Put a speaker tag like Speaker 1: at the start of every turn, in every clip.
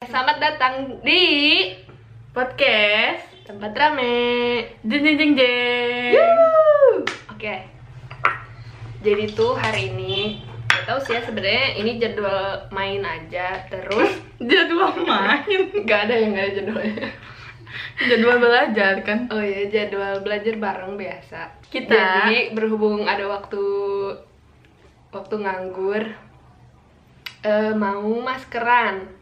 Speaker 1: Selamat datang di
Speaker 2: podcast
Speaker 1: tempat rame.
Speaker 2: jeng jeng jeng jeng
Speaker 1: Oke. Jadi tuh hari ini gak tahu sih ya sebenarnya ini jadwal main aja terus
Speaker 2: jadwal main
Speaker 1: nggak ada yang nggak ada jadwalnya.
Speaker 2: jadwal belajar kan
Speaker 1: Oh ya jadwal belajar bareng biasa.
Speaker 2: Kita-
Speaker 1: jadi berhubung ada waktu waktu nganggur eh, mau maskeran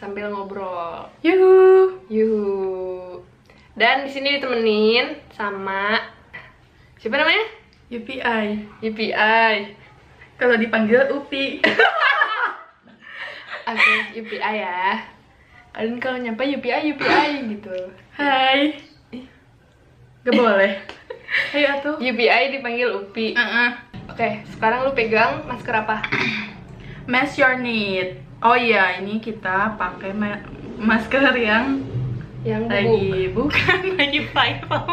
Speaker 1: sambil ngobrol.
Speaker 2: yuhu
Speaker 1: Yuhu. Dan di sini ditemenin sama siapa namanya?
Speaker 2: UPI
Speaker 1: UPI.
Speaker 2: kalau dipanggil Upi
Speaker 1: Oke, UPI ya. Kalian kalau nyapa UPI, UPI gitu.
Speaker 2: Hai gak boleh Hai atuh
Speaker 1: UPI dipanggil Upi. Oke,
Speaker 2: Heeh.
Speaker 1: sekarang lu pegang masker apa?
Speaker 2: Match your need oh iya ini kita pakai ma- masker yang
Speaker 1: Yang bubuk.
Speaker 2: lagi bukan lagi viral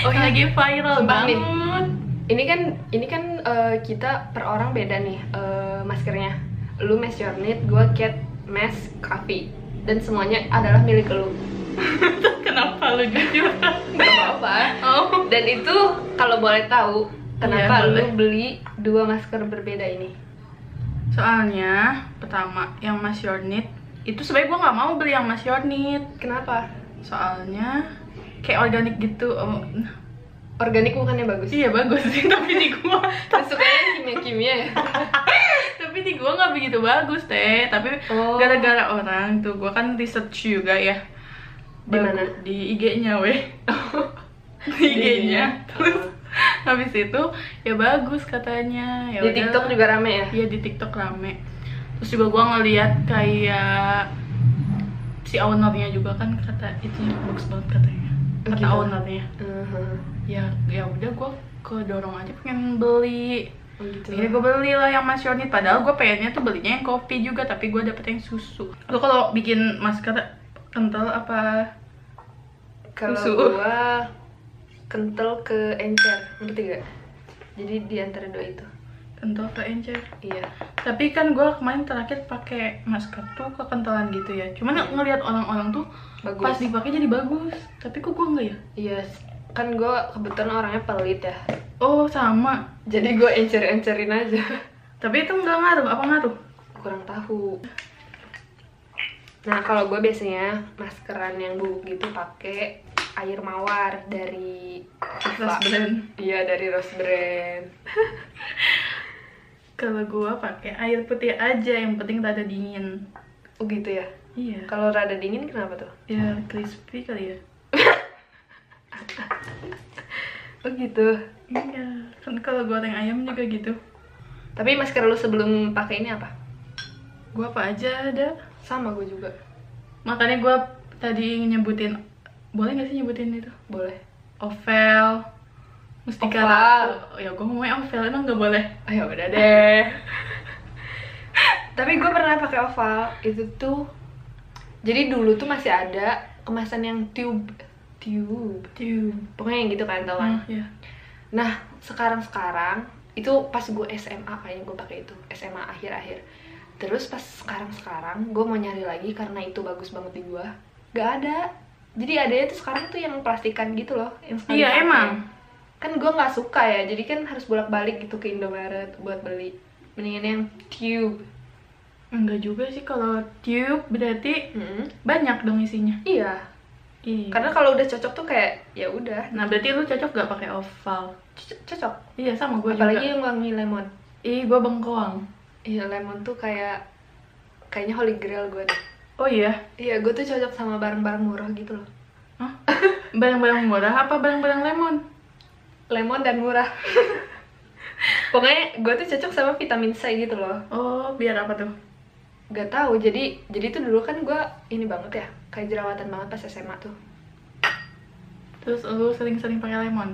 Speaker 1: Oh, iya.
Speaker 2: lagi viral
Speaker 1: Sumpah, Min.
Speaker 2: banget
Speaker 1: Ini kan ini kan eh, kita per orang beda nih eh, maskernya. Lu mask your need, gua cat mask coffee. Dan semuanya adalah milik lu.
Speaker 2: kenapa lu jujur
Speaker 1: Gak apa-apa.
Speaker 2: oh
Speaker 1: Dan itu kalau boleh tahu kenapa lu
Speaker 2: Iya, boleh.
Speaker 1: beli dua masker berbeda ini?
Speaker 2: Soalnya pertama yang Mas Yornit itu sebenarnya gue nggak mau beli yang Mas Yornit
Speaker 1: Kenapa?
Speaker 2: soalnya kayak organik gitu oh,
Speaker 1: Organik bukannya bagus?
Speaker 2: iya bagus sih tapi di gua
Speaker 1: Lu Kan Sukanya kimia-kimia ya?
Speaker 2: tapi di gua nggak begitu bagus teh tapi
Speaker 1: Oh.
Speaker 2: gara-gara orang tuh gua kan research juga ya
Speaker 1: Di mana?
Speaker 2: Bagus- di IG-nya weh di
Speaker 1: Iya.
Speaker 2: IG-nya terus habis itu ya bagus katanya ya
Speaker 1: Di
Speaker 2: udah.
Speaker 1: TikTok juga rame ya?
Speaker 2: Iya di TikTok rame. Terus juga gua ngeliat kayak si ownernya juga kan kata itu bagus banget katanya.
Speaker 1: Oh,
Speaker 2: Kata
Speaker 1: gitu.
Speaker 2: ownernya.
Speaker 1: Mhm.
Speaker 2: Ya ya udah gua kedorong aja pengen beli.
Speaker 1: Oh gitu.
Speaker 2: Jadi gue beli lah yang Mas Yornit Padahal gue pengennya tuh belinya yang kopi juga Tapi gue dapet yang susu Lo kalau bikin masker kental apa?
Speaker 1: Kalau
Speaker 2: Susu.
Speaker 1: gua kental ke encer, ngerti gak? Jadi di antara dua itu.
Speaker 2: Kental ke encer
Speaker 1: Iya.
Speaker 2: Tapi kan gue kemarin terakhir pakai masker tuh kekentalan gitu ya Cuman ngeliat orang-orang tuh
Speaker 1: Bagus.
Speaker 2: pas dipakai jadi bagus Tapi kok gue enggak ya?
Speaker 1: Iya. Kan gua kebetulan orangnya pelit ya.
Speaker 2: Oh sama.
Speaker 1: Jadi gua encer-encerin aja.
Speaker 2: Tapi itu nggak ngaruh. Apa ngaruh?
Speaker 1: kurang tahu nah kalau gue biasanya maskeran yang bubuk gitu pakai air mawar dari
Speaker 2: Terus brand.
Speaker 1: iya dari Rose Brand
Speaker 2: Kalau gua pakai air putih aja. Yang penting rada dingin.
Speaker 1: oh gitu ya
Speaker 2: Iya.
Speaker 1: kalau rada dingin kenapa tuh
Speaker 2: Ya crispy kali ya.
Speaker 1: oh gitu
Speaker 2: Iya. Kan kalau goreng ayam juga gitu.
Speaker 1: tapi masker lu sebelum pakai ini apa
Speaker 2: Gua apa aja ada.
Speaker 1: sama gue juga
Speaker 2: Makanya gua tadi nyebutin. Boleh nggak sih nyebutin itu?
Speaker 1: boleh
Speaker 2: Ovel. Mustika
Speaker 1: Oval.
Speaker 2: Ratu. Ya gua ngomongnya Ovel emang nggak boleh.
Speaker 1: ayo udah deh tapi gue pernah pakai oval itu tuh jadi dulu tuh masih ada kemasan yang tube tube
Speaker 2: Tuh.
Speaker 1: pokoknya yang gitu kan tau kan
Speaker 2: Hmm, Iya.
Speaker 1: Nah, sekarang-sekarang itu pas gue SMA kayaknya gue pakai itu, SMA akhir-akhir. Terus pas sekarang-sekarang gue mau nyari lagi karena itu bagus banget di gue. Gak ada. Jadi adanya tuh sekarang tuh yang plastikan gitu loh, yang sekali
Speaker 2: Iya
Speaker 1: pakai.
Speaker 2: emang.
Speaker 1: Kan gue nggak suka ya, jadi kan harus bolak-balik gitu ke Indomaret buat beli. Mendingan yang tube.
Speaker 2: Enggak juga sih kalau tube berarti
Speaker 1: Mm-mm.
Speaker 2: banyak dong isinya.
Speaker 1: Iya.
Speaker 2: Iya.
Speaker 1: Karena kalau udah cocok tuh kayak ya udah
Speaker 2: Nah, berarti lu cocok gak pakai oval?
Speaker 1: co- cocok.
Speaker 2: Iya, sama gue
Speaker 1: Apalagi
Speaker 2: juga.
Speaker 1: yang wangi lemon.
Speaker 2: Ih, gue bengkoang.
Speaker 1: Iya, lemon tuh kayak kayaknya holy grail gue deh.
Speaker 2: Oh iya?
Speaker 1: Iya, gue tuh cocok sama barang-barang murah gitu loh.
Speaker 2: Hah? Barang-barang murah apa barang-barang lemon?
Speaker 1: Lemon dan murah. Pokoknya gue tuh cocok sama vitamin C gitu loh.
Speaker 2: Oh, biar apa tuh?
Speaker 1: Gak tahu. Jadi jadi tuh dulu kan gue ini banget ya, kayak jerawatan banget pas SMA tuh.
Speaker 2: Terus lu sering-sering pakai lemon?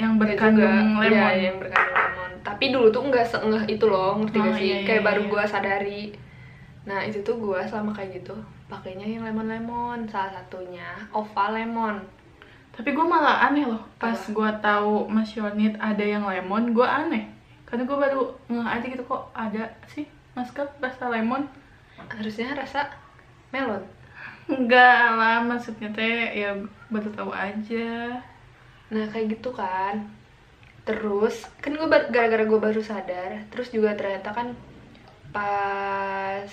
Speaker 2: Yang
Speaker 1: Gak
Speaker 2: berkandung
Speaker 1: juga-
Speaker 2: lemon?
Speaker 1: Iya, yang berkandung lemon. Tapi dulu tuh nggak seengeh itu loh, ngerti gak
Speaker 2: Oh,
Speaker 1: sih?
Speaker 2: iya, iya,
Speaker 1: kayak baru
Speaker 2: iya.
Speaker 1: gue sadari. Nah itu tuh gue sama kayak gitu. Pakainya yang lemon-lemon. Salah satunya oval lemon.
Speaker 2: Tapi gue malah aneh loh. Pas
Speaker 1: Apa?
Speaker 2: gue tahu Mas Yonit ada yang lemon, gue aneh. Karena gue baru ngeh aja gitu kok ada sih masker rasa lemon.
Speaker 1: Harusnya rasa melon
Speaker 2: Enggak lah, maksudnya teh ya baru tahu aja.
Speaker 1: Nah kayak gitu kan Terus kan gue gara-gara gue baru sadar Terus juga ternyata kan pas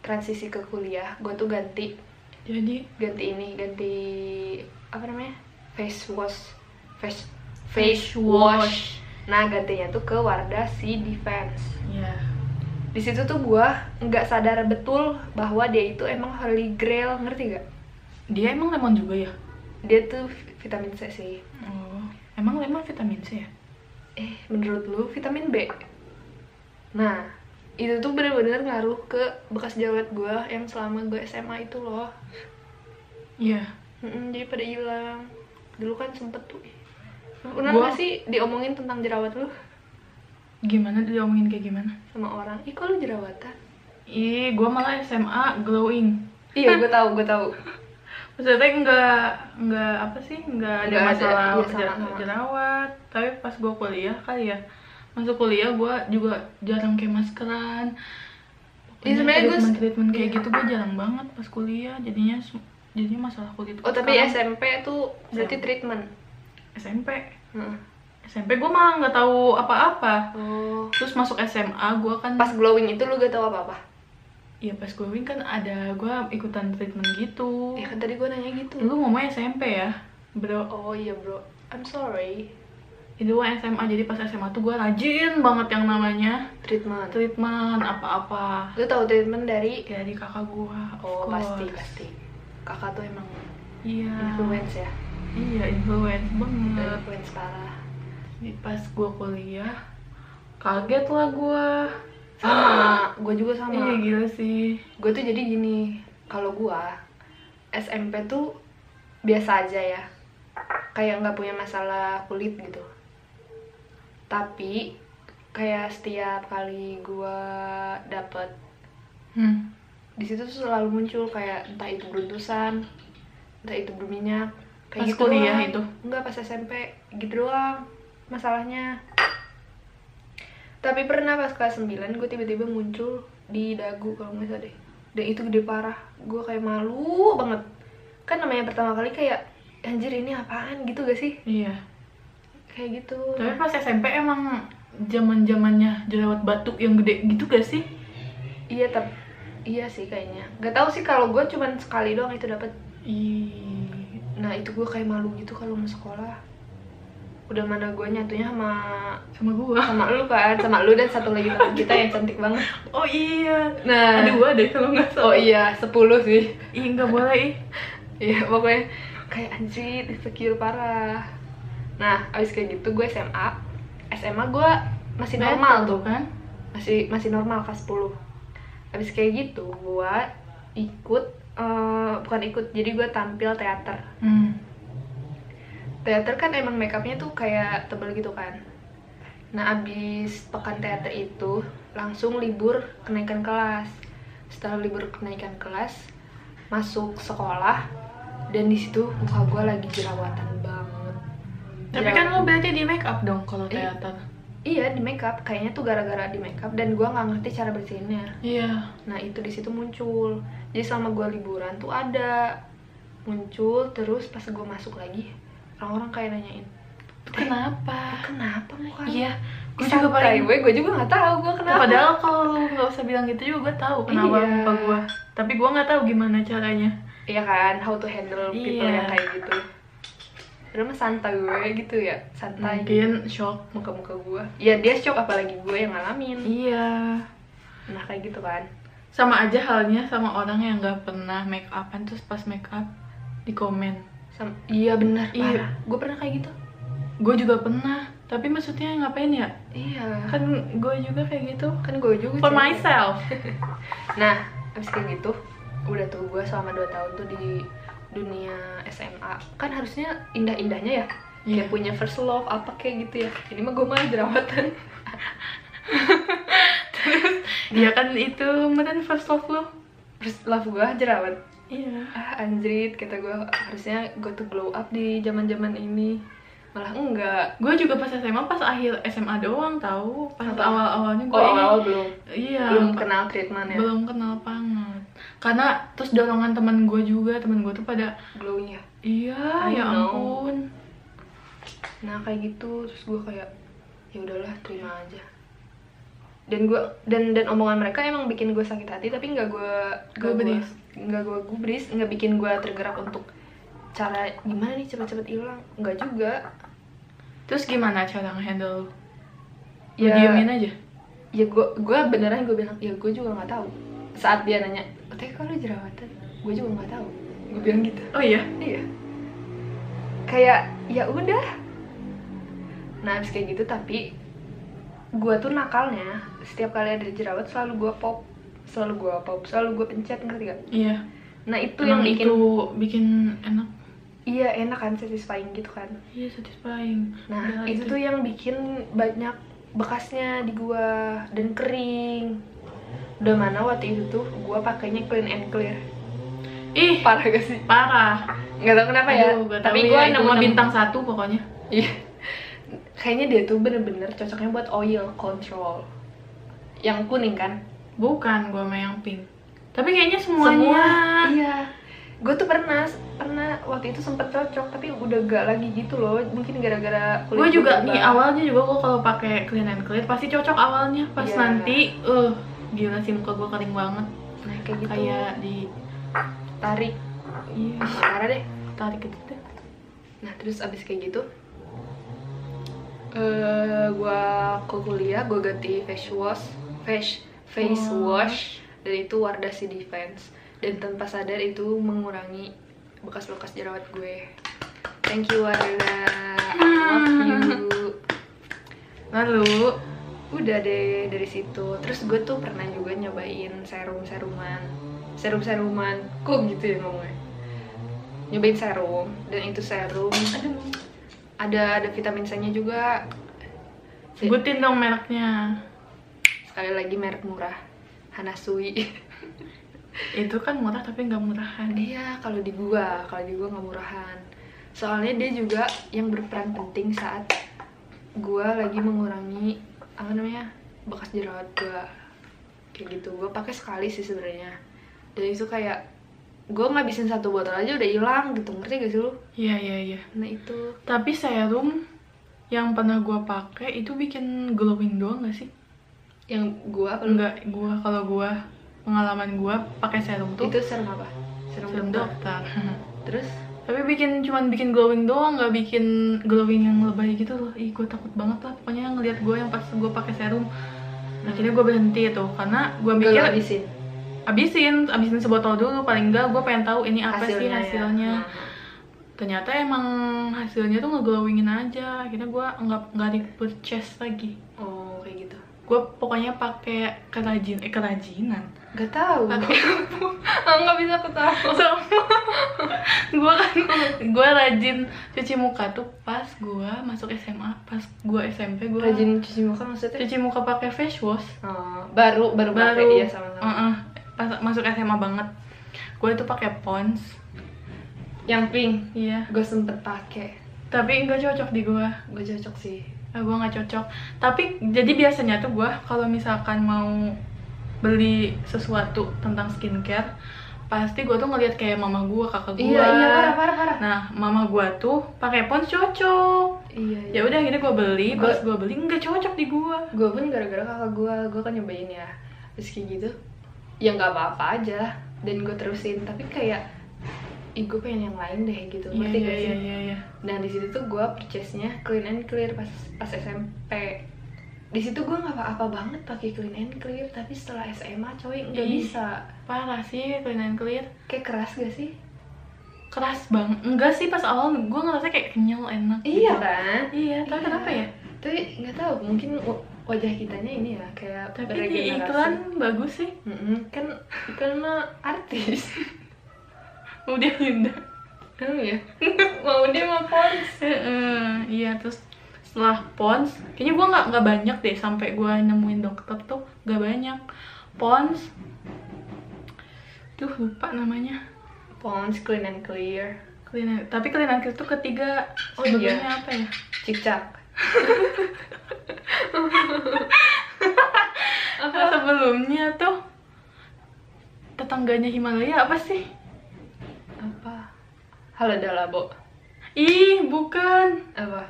Speaker 1: transisi ke kuliah Gue tuh ganti
Speaker 2: Jadi
Speaker 1: ganti ini ganti apa namanya face wash face face wash nah gantinya tuh ke Wardah Sea Defense
Speaker 2: ya
Speaker 1: di situ tuh gua nggak sadar betul bahwa dia itu emang holy grail ngerti gak
Speaker 2: dia emang lemon juga ya?
Speaker 1: dia tuh vitamin C sih
Speaker 2: Oh, emang lemon vitamin C ya?
Speaker 1: eh menurut lu vitamin B nah itu tuh bener-bener ngaruh ke bekas jerawat gua yang selama gue SMA itu loh
Speaker 2: Iya.
Speaker 1: Mm-mm, jadi pada hilang dulu kan sempet tuh pernah
Speaker 2: Gua-
Speaker 1: nggak sih diomongin tentang jerawat lu
Speaker 2: Gimana diomongin kayak gimana?
Speaker 1: sama orang ih kok lu jerawatan
Speaker 2: Ih, gua malah SMA glowing.
Speaker 1: iya gue tahu gue tahu
Speaker 2: Maksudnya enggak enggak apa sih? Enggak ada
Speaker 1: Nggak ada,
Speaker 2: masalah
Speaker 1: iya, sama,
Speaker 2: jer-
Speaker 1: sama.
Speaker 2: jerawat. Tapi pas gua kuliah kali ya. Masuk kuliah gua juga jarang kayak maskeran.
Speaker 1: Iya, sebenarnya gua-
Speaker 2: treatment, treatment kayak
Speaker 1: iya.
Speaker 2: gitu gua jarang banget pas kuliah. Jadinya sem- jadinya masalah kulit.
Speaker 1: oh
Speaker 2: gua
Speaker 1: tapi
Speaker 2: sekarang
Speaker 1: SMP tuh berarti treatment
Speaker 2: SMP.
Speaker 1: Heeh.
Speaker 2: SMP gua malah nggak tahu apa-apa.
Speaker 1: oh
Speaker 2: Terus masuk SMA gua kan
Speaker 1: pas glowing itu lu gak tahu apa apa
Speaker 2: ya pas glowing kan ada gua ikutan treatment gitu.
Speaker 1: ya kan tadi gue nanya gitu
Speaker 2: Lu ngomong SMP ya? Bro,
Speaker 1: oh iya bro I'm sorry
Speaker 2: itu gua SMA jadi pas SMA tuh gue rajin banget yang namanya
Speaker 1: treatment
Speaker 2: treatment apa-apa
Speaker 1: lu tahu treatment dari
Speaker 2: dari kakak gue
Speaker 1: oh pasti pasti kakak tuh emang
Speaker 2: iya
Speaker 1: influence ya
Speaker 2: iya influence
Speaker 1: Hmm.
Speaker 2: banget
Speaker 1: influence parah
Speaker 2: Jadi pas gue kuliah kaget lah gue
Speaker 1: sama gue juga sama
Speaker 2: iya gila sih
Speaker 1: gue tuh jadi gini kalau gue SMP tuh biasa aja ya kayak nggak punya masalah kulit gitu tapi kayak setiap kali gue dapet
Speaker 2: hmm.
Speaker 1: di situ tuh selalu muncul kayak entah itu beruntusan entah itu berminyak
Speaker 2: Pas
Speaker 1: kayak gitu
Speaker 2: kuliah
Speaker 1: doang.
Speaker 2: itu?
Speaker 1: enggak pas SMP gitu doang masalahnya tapi pernah pas kelas 9 gue tiba-tiba muncul di dagu kalau nggak salah deh dan itu gede parah gue kayak malu banget kan namanya pertama kali kayak anjir ini apaan gitu gak sih
Speaker 2: iya
Speaker 1: kayak gitu
Speaker 2: tapi pas SMP emang zaman zamannya jerawat batuk yang gede gitu gak sih
Speaker 1: iya tapi iya sih kayaknya nggak tahu sih kalau gue cuman sekali doang itu dapet
Speaker 2: Ih,
Speaker 1: Nah itu gue kayak malu gitu kalau mau sekolah Udah mana gue nyatunya sama
Speaker 2: sama gue
Speaker 1: sama lu kan Sama lu dan satu lagi teman kita yang cantik banget
Speaker 2: oh iya
Speaker 1: Nah
Speaker 2: ada gue deh kalau nggak
Speaker 1: Oh
Speaker 2: salah
Speaker 1: iya, 10 sih
Speaker 2: Ih, nggak boleh ih.
Speaker 1: Iya pokoknya kayak anjir, insecure parah Nah, abis kayak gitu gue SMA SMA gue masih normal
Speaker 2: Better
Speaker 1: tuh
Speaker 2: kan
Speaker 1: masih masih normal kelas 10 habis kayak gitu gue ikut eh, bukan ikut jadi gue tampil teater
Speaker 2: hmm.
Speaker 1: teater kan emang makeupnya tuh kayak tebel gitu kan nah abis pekan teater itu langsung libur kenaikan kelas setelah libur kenaikan kelas masuk sekolah dan di situ muka gue lagi jerawatan banget
Speaker 2: Tapi
Speaker 1: Jerawat-
Speaker 2: kan lo berarti di make up dong kalau teater.
Speaker 1: iya di makeup kayaknya tuh gara-gara di makeup dan gue nggak ngerti cara bersihinnya
Speaker 2: Iya.
Speaker 1: nah itu di situ muncul jadi selama gue liburan tuh ada muncul terus pas gue masuk lagi orang-orang kayak nanyain "Ah,
Speaker 2: Itu kenapa?
Speaker 1: kenapa muka lu
Speaker 2: Iya. Gue
Speaker 1: Santai
Speaker 2: juga paling. Nah,
Speaker 1: gue, gue juga gak tahu gue kenapa.
Speaker 2: Padahal kalau lo nggak usah bilang gitu juga gue tahu kenapa
Speaker 1: Iya.
Speaker 2: muka gue. Tapi gue nggak tahu gimana caranya.
Speaker 1: Iya kan, how to handle people
Speaker 2: Iya.
Speaker 1: yang kayak gitu. Padahal mah santai gue gitu ya, santai
Speaker 2: Mungkin shock.
Speaker 1: muka-muka gue. Ya dia shock apalagi gue yang ngalamin.
Speaker 2: Iya.
Speaker 1: Nah kayak gitu kan.
Speaker 2: Sama aja halnya sama orang yang nggak pernah make upan terus pas make up di komen.
Speaker 1: Sam- iya benar,
Speaker 2: Iya.
Speaker 1: parah. Gue pernah kayak gitu.
Speaker 2: Gue juga pernah. Tapi maksudnya ngapain ya?
Speaker 1: Iya. Kan,
Speaker 2: Kan gue juga kayak gitu.
Speaker 1: kan gue juga.
Speaker 2: For
Speaker 1: cuy.
Speaker 2: myself.
Speaker 1: Nah, abis kayak gitu, udah tuh gue selama 2 tahun tuh di dunia SMA kan harusnya indah-indahnya ya
Speaker 2: Iya.
Speaker 1: kayak punya first love apa kayak gitu ya ini mah gue malah jerawatan
Speaker 2: Dia kan itu mantan first love lo.
Speaker 1: first love gue jerawat
Speaker 2: Iya.
Speaker 1: ah anjrit kata gue harusnya gue tuh glow up di zaman zaman ini malah enggak
Speaker 2: gue juga pas SMA pas akhir SMA doang tahu pas
Speaker 1: Apa?
Speaker 2: awal awalnya gue
Speaker 1: oh awal belum
Speaker 2: iya
Speaker 1: belum
Speaker 2: pa-
Speaker 1: kenal treatment ya
Speaker 2: belum kenal banget karena terus dorongan teman gue juga teman gue tuh pada
Speaker 1: glownya
Speaker 2: iya
Speaker 1: I
Speaker 2: ya
Speaker 1: know.
Speaker 2: ampun
Speaker 1: nah kayak gitu terus gue kayak ya udahlah terima aja dan gue dan dan omongan mereka emang bikin gue sakit hati tapi nggak gue
Speaker 2: Gubris.
Speaker 1: nggak gue gubris nggak bikin gue tergerak untuk cara gimana nih cepet-cepet hilang nggak juga
Speaker 2: terus gimana cara ngehandle ya
Speaker 1: Ya.
Speaker 2: diamin aja
Speaker 1: ya gue gue beneran gue bilang ya gue juga nggak tahu saat dia nanya tapi kalau jerawatan gue juga nggak tahu gue bilang gitu
Speaker 2: oh iya
Speaker 1: iya kayak ya udah nah habis kayak gitu tapi gue tuh nakalnya setiap kali ada jerawat selalu gue pop selalu gue pop selalu gue pencet ngerti gak
Speaker 2: iya
Speaker 1: nah itu
Speaker 2: Emang
Speaker 1: yang
Speaker 2: gitu?
Speaker 1: bikin
Speaker 2: itu bikin enak
Speaker 1: iya enak kan satisfying gitu kan
Speaker 2: iya satisfying
Speaker 1: nah
Speaker 2: Udah, gitu.
Speaker 1: itu tuh yang bikin banyak bekasnya di gua dan kering udah mana waktu itu tuh gua pakainya clean and clear
Speaker 2: ih
Speaker 1: parah gak sih
Speaker 2: parah
Speaker 1: nggak tau kenapa ya
Speaker 2: Aduh, gak
Speaker 1: tapi
Speaker 2: tahu
Speaker 1: gua
Speaker 2: ya, itu
Speaker 1: nemu
Speaker 2: mah
Speaker 1: nemu-
Speaker 2: bintang satu pokoknya
Speaker 1: Iya. Kayaknya dia tuh bener-bener cocoknya buat oil control. Yang kuning kan?
Speaker 2: bukan gue sama yang pink tapi kayaknya
Speaker 1: Semua.
Speaker 2: semuanya
Speaker 1: Iya. Gue tuh pernah pernah waktu itu sempet cocok tapi udah gak lagi gitu loh. Mungkin gara-gara kulit
Speaker 2: gue juga
Speaker 1: berubah.
Speaker 2: nih awalnya juga gue kalau pakai clean and clear pasti cocok awalnya pas
Speaker 1: Iya.
Speaker 2: nanti eh uh, gila sih muka gue kering banget
Speaker 1: Nah, kayak gitu.
Speaker 2: kayak di
Speaker 1: tarik.
Speaker 2: iya
Speaker 1: Ah, parah deh.
Speaker 2: tarik gitu deh
Speaker 1: Nah, terus abis kayak gitu eh gua ke kuliah gua ganti face wash, face face wash dan itu Wardah Sea Defense dan tanpa sadar itu mengurangi bekas-bekas jerawat gue. Thank you Wardah. I love you.
Speaker 2: lalu
Speaker 1: Udah deh dari situ. Terus gue tuh pernah juga nyobain serum-seruman. Serum-seruman. Kok gitu ya ngomongnya? Nyobain serum dan itu serum ada ada vitamin C-nya juga. Se-
Speaker 2: sebutin dong mereknya
Speaker 1: Sekali lagi merek murah. Hanasui.
Speaker 2: itu kan murah tapi nggak murahan
Speaker 1: Iya, kalau di gua, kalau di gua nggak murahan. Soalnya dia juga yang berperan penting saat gua lagi mengurangi apa namanya bekas jerawat gua. Kayak gitu, gua pakai sekali sih sebenarnya. Dan itu kayak gua ngabisin satu botol aja udah hilang gitu, ngerti gak sih lu?
Speaker 2: iya iya iya
Speaker 1: Nah itu
Speaker 2: tapi serum yang pernah gue pakai itu bikin glowing doang gak sih
Speaker 1: yang gua apa lu?
Speaker 2: enggak gue kalau gue pengalaman gue pakai serum tuh
Speaker 1: Itu serum apa? Serum,
Speaker 2: serum
Speaker 1: dokter.
Speaker 2: dokter
Speaker 1: Terus
Speaker 2: tapi bikin cuman bikin glowing doang nggak bikin glowing yang lebay gitu loh ih gue takut banget lah pokoknya ngelihat gue yang pas gue pakai serum akhirnya gue berhenti tuh karena gue
Speaker 1: gua
Speaker 2: mikir
Speaker 1: habisin
Speaker 2: abisin abisin sebotol dulu paling enggak gue pengen tahu ini apa sih
Speaker 1: ya.
Speaker 2: hasilnya
Speaker 1: Nah.
Speaker 2: ternyata emang hasilnya tuh ngeglowingin aja akhirnya gue nggak nggak di purchase lagi
Speaker 1: Oh kayak gitu.
Speaker 2: gue pokoknya pakai kerajin eh kerajinan
Speaker 1: Gak tahu. Nggak bisa ketawa.
Speaker 2: gue kan gue rajin cuci muka tuh pas gue masuk SMA pas gue SMP gue
Speaker 1: Rajin cuci muka maksudnya?
Speaker 2: cuci muka pakai face wash
Speaker 1: Oh, baru baru
Speaker 2: baru
Speaker 1: pakai, iya sama-sama.
Speaker 2: Heeh. pas masuk SMA banget gue itu pakai pons
Speaker 1: Yang pink
Speaker 2: iya
Speaker 1: gue sempet pakai.
Speaker 2: tapi nggak cocok di gue
Speaker 1: Gue cocok sih.
Speaker 2: gue nggak cocok tapi jadi biasanya tuh gue kalau misalkan mau beli sesuatu tentang skincare pasti gue tuh ngeliat kayak mama gue kakak gue
Speaker 1: Iya, iya parah parah parah.
Speaker 2: nah mama gue tuh pakai pons cocok
Speaker 1: Iya, iya.
Speaker 2: ya udah akhirnya gue beli
Speaker 1: Gua-
Speaker 2: pas gue beli nggak cocok di gue
Speaker 1: Gue pun gara-gara kakak gue, gue kan nyobain ya. Terus kayak gitu. Ya nggak apa-apa aja dan gue terusin, tapi kayak Ih, gue pengen yang lain deh gitu,
Speaker 2: iya
Speaker 1: ngerti
Speaker 2: iya
Speaker 1: gak sih?
Speaker 2: iya iya iya
Speaker 1: Nah di situ tuh gue purchase-nya clean and clear pas pas SMP. Di situ gue nggak apa-apa banget pakai clean and clear, tapi setelah SMA coy nggak
Speaker 2: Ih.
Speaker 1: bisa.
Speaker 2: parah sih clean and clear
Speaker 1: Kayak keras gak sih?
Speaker 2: keras bang enggak sih pas awal gue ngerasa kayak kenyal enak gitu.
Speaker 1: Iya kan?
Speaker 2: iya tapi
Speaker 1: Iya.
Speaker 2: kenapa ya
Speaker 1: Tapi nggak tahu, mungkin wa- wajah kitanya ini ya kayak
Speaker 2: tapi di
Speaker 1: beregenerasi.
Speaker 2: iklan bagus sih
Speaker 1: Mm-mm, kan iklan mah artis.
Speaker 2: udah Linda
Speaker 1: Kan ya. mau dia mau pons.
Speaker 2: Heeh, iya terus setelah pons kayaknya gue nggak nggak banyak deh sampai gue nemuin dokter tuh nggak banyak pons tuh lupa namanya
Speaker 1: Pons clean and clear.
Speaker 2: clean and- tapi clean and clear tuh ketiga
Speaker 1: Oh, iya.
Speaker 2: sebelumnya apa ya
Speaker 1: Cicak.
Speaker 2: Ah, Apa sebelumnya tuh tetangganya Himalaya apa sih?
Speaker 1: apa Haladelabo
Speaker 2: Ih, bukan.
Speaker 1: apa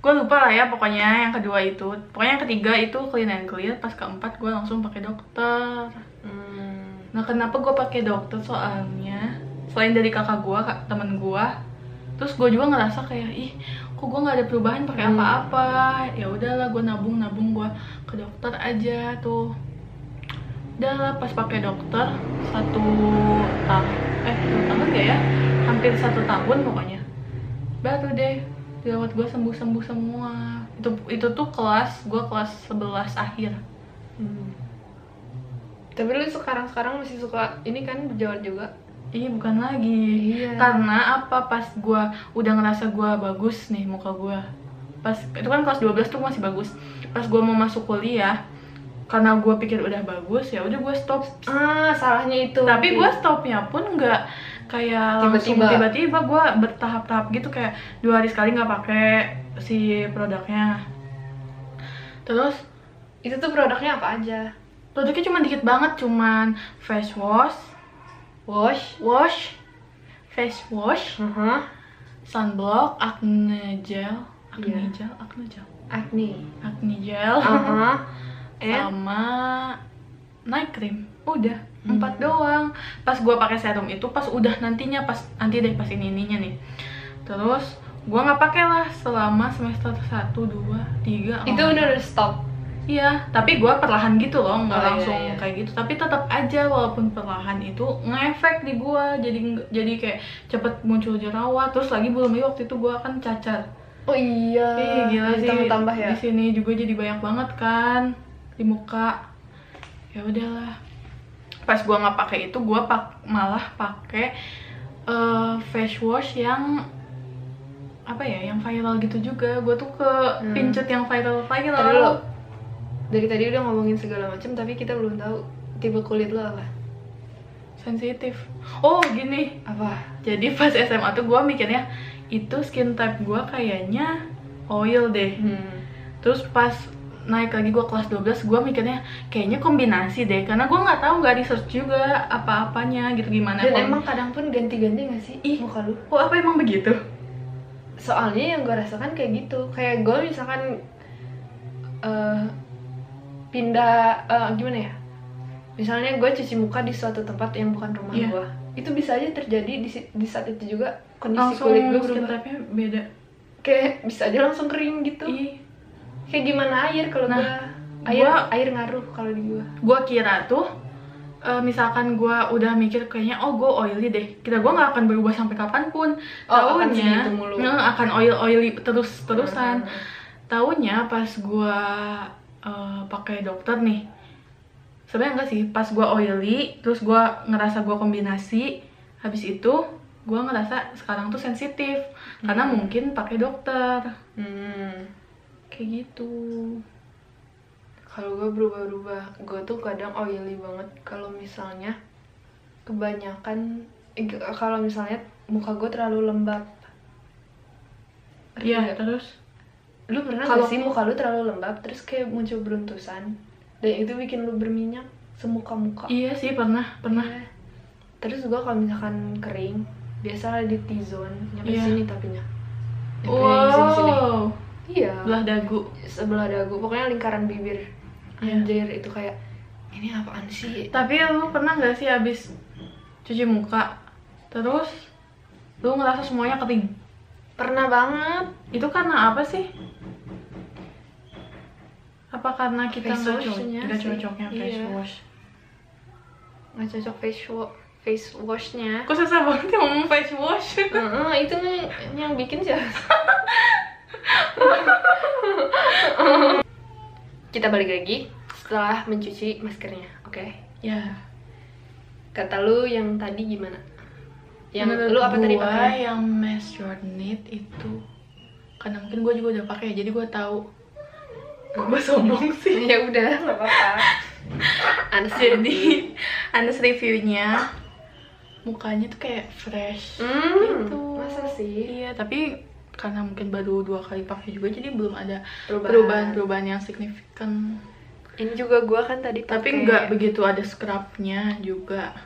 Speaker 2: Gue lupa lah ya pokoknya yang kedua itu. Pokoknya yang ketiga itu clean and clear, pas keempat gue langsung pakai dokter.
Speaker 1: hmm,
Speaker 2: Nah, kenapa gue pakai dokter soalnya selain dari kakak gue, kak, temen gue, terus gue juga ngerasa kayak ih kok gue nggak ada perubahan pakai
Speaker 1: Hmm.
Speaker 2: apa-apa ya udahlah gue nabung nabung gue ke dokter aja tuh udah lah pas pakai dokter satu tahun eh satu tahun gak ya hampir satu tahun pokoknya baru deh dirawat gue sembuh sembuh semua itu itu tuh kelas gue kelas 11 akhir
Speaker 1: hmm. tapi lu sekarang sekarang masih suka ini kan berjalan juga
Speaker 2: Iya bukan lagi
Speaker 1: Iya.
Speaker 2: Karena apa pas gua udah ngerasa gua bagus nih muka gua Pas itu kan kelas 12 tuh masih bagus Pas gua mau masuk kuliah Karena gua pikir udah bagus ya udah gua stop
Speaker 1: ah salahnya itu
Speaker 2: Tapi gua stopnya pun nggak kayak langsung
Speaker 1: Iya. Tiba-tiba.
Speaker 2: tiba-tiba gua bertahap-tahap gitu Kayak dua hari sekali nggak pakai si produknya Terus
Speaker 1: itu tuh produknya apa aja
Speaker 2: produknya cuma dikit banget Cuman face wash,
Speaker 1: wash
Speaker 2: wash, face wash
Speaker 1: Aha.
Speaker 2: sunblock, acne gel, acne
Speaker 1: Iya.
Speaker 2: gel, acne gel,
Speaker 1: acne
Speaker 2: acne gel,
Speaker 1: Aha. and
Speaker 2: sama night cream. eh. Udah
Speaker 1: Hmm.
Speaker 2: empat doang. Pas gua pakai serum itu pas udah nantinya pas nanti deh pas ini ininya nih. Terus gua nggak pakai lah selama semester 1, 2, 3
Speaker 1: itu udah udah stop
Speaker 2: Iya, tapi gua perlahan gitu loh, nggak
Speaker 1: Oh, iya,
Speaker 2: langsung
Speaker 1: iya.
Speaker 2: kayak gitu. Tapi tetap aja walaupun perlahan itu ngefek di gua, jadi nggak- jadi kayak cepet muncul jerawat. Terus lagi belum lagi waktu itu gua kan cacar.
Speaker 1: oh iya
Speaker 2: Ih, gila sih.
Speaker 1: tambah ya
Speaker 2: Di sini juga jadi banyak banget kan di muka. Ya udahlah. Pas gua nggak pakai itu, gua pak malah pakai eh, face wash yang apa ya, yang viral gitu juga. Gua tuh ke
Speaker 1: Hmm.
Speaker 2: pincut yang viral viral.
Speaker 1: Tadi dulu. dari tadi udah ngomongin segala macam tapi kita belum tahu tipe kulit lo apa
Speaker 2: Sensitif. Oh, gini.
Speaker 1: apa
Speaker 2: Jadi pas SMA tuh gua mikirnya itu skin type gua kayaknya oil deh.
Speaker 1: Hmm.
Speaker 2: terus pas naik lagi gue kelas 12 gue mikirnya kayaknya kombinasi deh karena gue nggak tahu nggak research juga apa-apanya gitu gimana
Speaker 1: dan
Speaker 2: Kom-
Speaker 1: emang kadang pun ganti-ganti gak sih
Speaker 2: Ih.
Speaker 1: muka lu
Speaker 2: oh apa emang begitu
Speaker 1: soalnya yang gue rasakan kayak gitu kayak gue misalkan eh, pindah eh, gimana ya misalnya gue cuci muka di suatu tempat yang bukan rumah
Speaker 2: Iya.
Speaker 1: gue itu bisa aja terjadi di, si- di saat itu juga kondisi
Speaker 2: langsung
Speaker 1: kulit gue
Speaker 2: skin
Speaker 1: berubah
Speaker 2: type-nya beda
Speaker 1: kayak bisa aja langsung kering gitu
Speaker 2: ih
Speaker 1: kayak gimana air kalau
Speaker 2: Iya. Nah,
Speaker 1: gue air
Speaker 2: gua-
Speaker 1: air ngaruh kalau di gue
Speaker 2: gue kira tuh eh, misalkan gue udah mikir kayaknya oh gue oily deh kira gue nggak akan berubah sampai kapanpun
Speaker 1: Oh, akan
Speaker 2: Taunya,
Speaker 1: segitu mulu. Hmm.
Speaker 2: eh, akan oil oily terus terusan Taunya pas gua eh, pakai dokter nih. Sebenarnya enggak sih, pas gua oily, terus gua ngerasa gua kombinasi, habis itu gua ngerasa sekarang tuh sensitif karena
Speaker 1: Hmm.
Speaker 2: mungkin pakai dokter.
Speaker 1: hmm.
Speaker 2: Kayak gitu.
Speaker 1: kalau gue berubah-ubah gue tuh kadang oily banget kalau misalnya kebanyakan eh, g- kalau misalnya muka gue terlalu lembab Ngerti
Speaker 2: Iya,
Speaker 1: nggak?
Speaker 2: terus
Speaker 1: lu pernah
Speaker 2: Kalau-
Speaker 1: gak sih muka lu terlalu lembab terus kayak muncul beruntusan dan itu bikin lu berminyak semuka muka
Speaker 2: iya sih pernah, pernah.
Speaker 1: Iya. terus gue kalau misalkan kering biasalah di T-zone nyampe
Speaker 2: Iya.
Speaker 1: sini tapinya Nyampe sini-sini.
Speaker 2: Wow.
Speaker 1: iya
Speaker 2: Belah dagu.
Speaker 1: sebelah dagu pokoknya lingkaran bibir
Speaker 2: Iya.
Speaker 1: anjir itu kayak ini apaan sih
Speaker 2: Tapi lu pernah nggak sih habis cuci muka terus lu ngerasa semuanya kering?
Speaker 1: pernah banget
Speaker 2: itu karena apa sih? apa karena kita
Speaker 1: Face
Speaker 2: nggak co-
Speaker 1: wash-nya
Speaker 2: nggak
Speaker 1: sih.
Speaker 2: cocoknya face
Speaker 1: Iya.
Speaker 2: wash?
Speaker 1: nggak cocok face wash face washnya
Speaker 2: Kok susah banget ya ngomong face wash?
Speaker 1: Heeh, itu yang- yang bikin sih kita balik lagi setelah mencuci maskernya oke
Speaker 2: ya.
Speaker 1: kata lu yang tadi gimana yang
Speaker 2: Menurut
Speaker 1: lu apa tadi
Speaker 2: gua ya.
Speaker 1: pakai
Speaker 2: yang match your need itu karena mungkin gue juga udah pakai jadi gue tahu kok gue sombong sih
Speaker 1: ya udah nggak apa-apa Anas
Speaker 2: jadi Anas reviewnya mukanya tuh kayak fresh
Speaker 1: hmm,
Speaker 2: gitu
Speaker 1: masa sih
Speaker 2: iya tapi karena mungkin baru dua kali pakai juga jadi belum ada
Speaker 1: perubahan,
Speaker 2: perubahan-perubahan yang signifikan
Speaker 1: ini juga gua kan tadi
Speaker 2: tapi
Speaker 1: pakai-
Speaker 2: nggak begitu ada scrubnya juga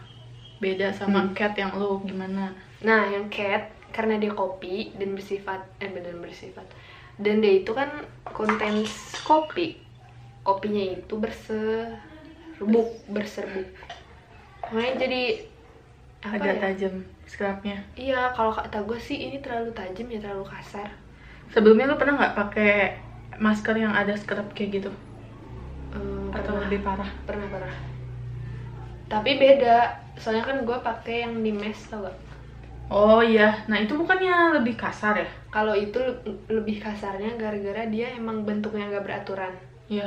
Speaker 2: beda
Speaker 1: Hmm.
Speaker 2: sama cat yang lo gimana
Speaker 1: Nah, yang cat karena dia kopi dan bersifat eh dan bersifat dan dia itu kan konten kopi. Kopinya itu berserbuk, berserbuk. Makanya jadi apa
Speaker 2: agak
Speaker 1: ya?
Speaker 2: tajam scrubnya
Speaker 1: Iya, kalau kata gue sih ini terlalu tajam ya, terlalu kasar.
Speaker 2: sebelumnya lo pernah nggak pakai masker yang ada scrub kayak gitu
Speaker 1: Eh,
Speaker 2: atau
Speaker 1: pernah,
Speaker 2: lebih parah
Speaker 1: pernah pernah. Tapi beda, soalnya kan gue pakai yang di mesh tau gak?
Speaker 2: oh iya nah itu bukannya lebih kasar ya
Speaker 1: Kalau itu le- lebih kasarnya gara-gara dia emang bentuknya nggak beraturan.
Speaker 2: iya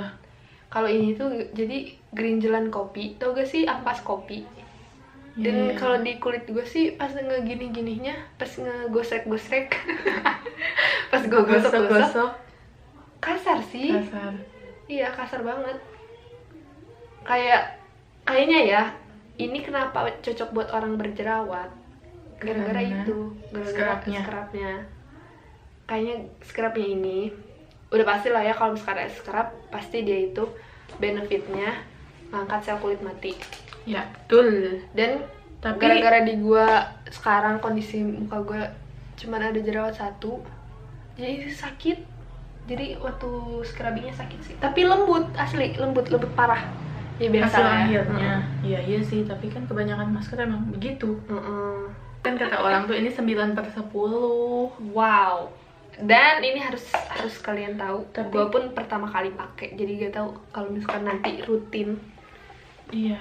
Speaker 1: kalau ini tuh jadi gerinjelan kopi tau gak sih ampas kopi dan
Speaker 2: Iya.
Speaker 1: kalau di kulit gue sih pas ngegini gininya pas ngegosek gosek pas gue gosok gosok
Speaker 2: gosok-gosok
Speaker 1: kasar sih
Speaker 2: kasar
Speaker 1: iya kasar banget kayak kayaknya ya ini kenapa cocok buat orang berjerawat gara-gara
Speaker 2: Karena
Speaker 1: itu gara-gara
Speaker 2: scrubnya.
Speaker 1: scrubnya kayaknya scrubnya ini udah pasti lah ya kalau misalkan ada scrub pasti dia itu benefitnya ngangkat sel kulit mati
Speaker 2: ya betul
Speaker 1: dan
Speaker 2: Tapi-
Speaker 1: gara-gara di gua sekarang kondisi muka gua cuman ada jerawat satu jadi sakit jadi waktu scrubbingnya sakit sih tapi lembut asli lembut lembut parah ya biasa
Speaker 2: hasil
Speaker 1: lah ya.
Speaker 2: akhirnya iya iya sih tapi kan kebanyakan masker emang begitu
Speaker 1: Mm-mm.
Speaker 2: kan kata orang tuh ini 9 per 10
Speaker 1: wow dan ini harus harus kalian tahu
Speaker 2: Tapi-
Speaker 1: gua pun pertama kali pakai jadi gak tahu kalau misalkan nanti rutin
Speaker 2: iya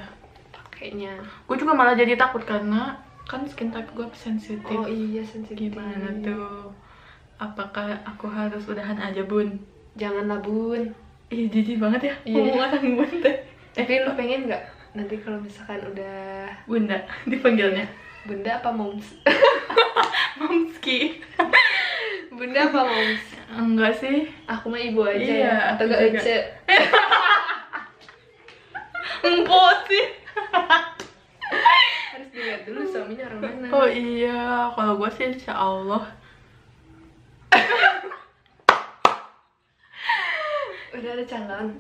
Speaker 1: pakainya
Speaker 2: gue juga malah jadi takut karena kan skin type gue sensitif
Speaker 1: oh iya sensitif
Speaker 2: gimana tuh apakah aku harus udahan aja bun
Speaker 1: janganlah bun
Speaker 2: ih jijik banget ya
Speaker 1: Iya.
Speaker 2: omongan bun teh
Speaker 1: tapi lu pengen nggak nanti kalau misalkan udah
Speaker 2: bunda dipanggilnya
Speaker 1: bunda apa moms
Speaker 2: momski
Speaker 1: Bunda apa moms?
Speaker 2: enggak sih
Speaker 1: Aku mah ibu aja
Speaker 2: Iya,
Speaker 1: ya. Atau
Speaker 2: aku
Speaker 1: gak
Speaker 2: juga.
Speaker 1: Ece?
Speaker 2: empok sih
Speaker 1: Harus dilihat dulu suaminya orang mana.
Speaker 2: oh iya kalau gue sih insya Allah
Speaker 1: Udah ada canggalan.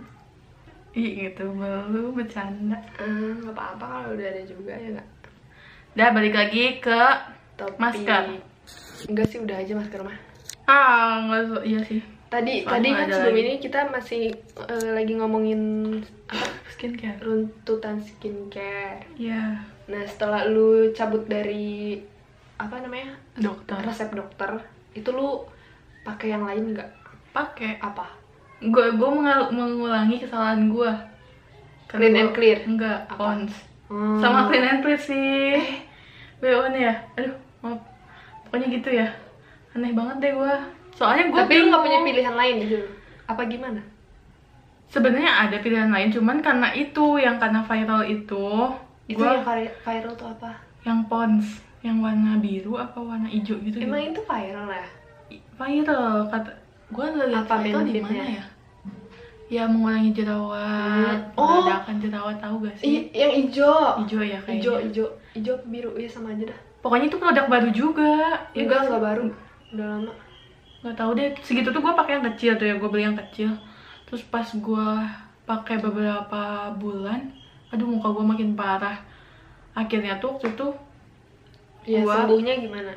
Speaker 2: ih gitu malu bercanda
Speaker 1: Eh, nggak apa-apa kalau udah ada juga
Speaker 2: Iya.
Speaker 1: ya nggak.
Speaker 2: dah balik lagi ke
Speaker 1: Topi.
Speaker 2: Masker.
Speaker 1: Enggak sih udah aja masker mah.
Speaker 2: ah enggak so- iya sih
Speaker 1: Tadi
Speaker 2: Soalnya
Speaker 1: tadi
Speaker 2: nggak
Speaker 1: kan
Speaker 2: ada
Speaker 1: sebelum
Speaker 2: lagi.
Speaker 1: ini kita masih eh, lagi ngomongin apa,
Speaker 2: skincare
Speaker 1: runtutan skincare.
Speaker 2: ya
Speaker 1: Nah setelah lu cabut dari apa namanya
Speaker 2: dokter
Speaker 1: resep dokter, itu lu pakai yang lain nggak?
Speaker 2: pakai
Speaker 1: Apa?
Speaker 2: gue gue mengulangi kesalahan gue
Speaker 1: Clean and clear? Oh.
Speaker 2: enggak
Speaker 1: Apa?
Speaker 2: pons
Speaker 1: Hmm.
Speaker 2: sama clean and clear sih bo ya aduh maaf pokoknya gitu ya aneh banget deh gue soalnya gue
Speaker 1: Tapi lu nggak punya pilihan lain gitu? Apa gimana?
Speaker 2: sebenarnya ada pilihan lain cuman karena itu yang karena viral itu
Speaker 1: Itu
Speaker 2: gua-
Speaker 1: yang vari- viral tuh apa?
Speaker 2: yang pons yang warna biru apa warna hijau gitu
Speaker 1: Emang itu viral ya?
Speaker 2: I- viral kata gue lihat
Speaker 1: Apa
Speaker 2: itu di
Speaker 1: benefitnya?
Speaker 2: mana ya ya mengurangi jerawat
Speaker 1: Hmm. Oh.
Speaker 2: meredakan jerawat tahu gak sih
Speaker 1: I- yang hijau.
Speaker 2: hijau ya kayaknya
Speaker 1: Hijau, hijau, hijau apa biru ya sama aja dah.
Speaker 2: pokoknya itu produk baru juga ya
Speaker 1: Enggak, enggak baru. Udah lama.
Speaker 2: nggak tahu deh segitu tuh gue pakai yang kecil tuh ya gue beli yang kecil terus pas gue pakai beberapa bulan aduh muka gue makin parah akhirnya tuh waktu itu
Speaker 1: Ya,
Speaker 2: Gua-
Speaker 1: sembuhnya gimana?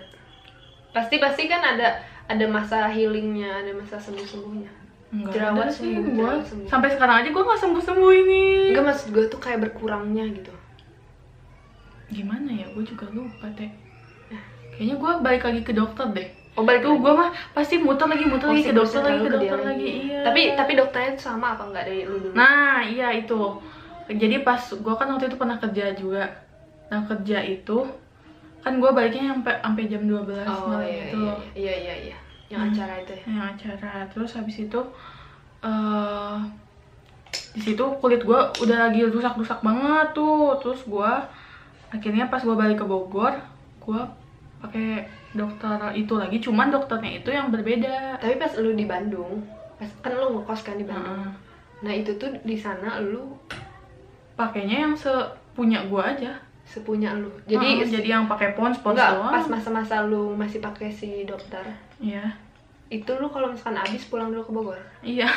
Speaker 1: Pasti pasti kan ada ada masa healingnya, ada masa sembuh sembuhnya.
Speaker 2: enggak
Speaker 1: Jerawat
Speaker 2: ada sih
Speaker 1: sembuh,
Speaker 2: gua.
Speaker 1: jerawat sembuh.
Speaker 2: sampai sekarang aja gue nggak sembuh sembuh ini
Speaker 1: Enggak maksud gue tuh kayak berkurangnya gitu.
Speaker 2: gimana ya gue juga lupa deh kayaknya gue balik lagi ke dokter deh
Speaker 1: Oh balik
Speaker 2: tuh gue mah pasti muter lagi muter lagi ke dokter lagi ke dokter lagi iya
Speaker 1: Tapi tapi dokternya tuh sama apa enggak dari lu dulu?
Speaker 2: Nah, iya itu. Jadi pas gua kan waktu itu pernah kerja juga. Nah, kerja itu kan gua baliknya sampai sampai jam 12
Speaker 1: oh
Speaker 2: malam gitu
Speaker 1: iya,
Speaker 2: itu
Speaker 1: iya, iya iya iya. Yang
Speaker 2: Hmm.
Speaker 1: acara itu ya.
Speaker 2: yang acara. Terus habis itu eh di situ kulit gua udah lagi rusak-rusak banget tuh. Terus gua akhirnya pas gua balik ke Bogor, gua pakai dokter itu lagi, cuman dokternya itu yang berbeda.
Speaker 1: Tapi pas lu di Bandung, pas kan lu ngekos kan di Bandung.
Speaker 2: Heeh.
Speaker 1: Nah, itu tuh di sana lu
Speaker 2: Pakainya yang sepunya gua aja.
Speaker 1: sepunya lu.
Speaker 2: Jadi
Speaker 1: Jadi
Speaker 2: jadi yang pakai pons pons
Speaker 1: enggak
Speaker 2: doang.
Speaker 1: pas masa-masa lu masih pakai si dokter.
Speaker 2: Iya.
Speaker 1: Itu lu kalau misalkan habis pulang dulu ke Bogor.
Speaker 2: Iya.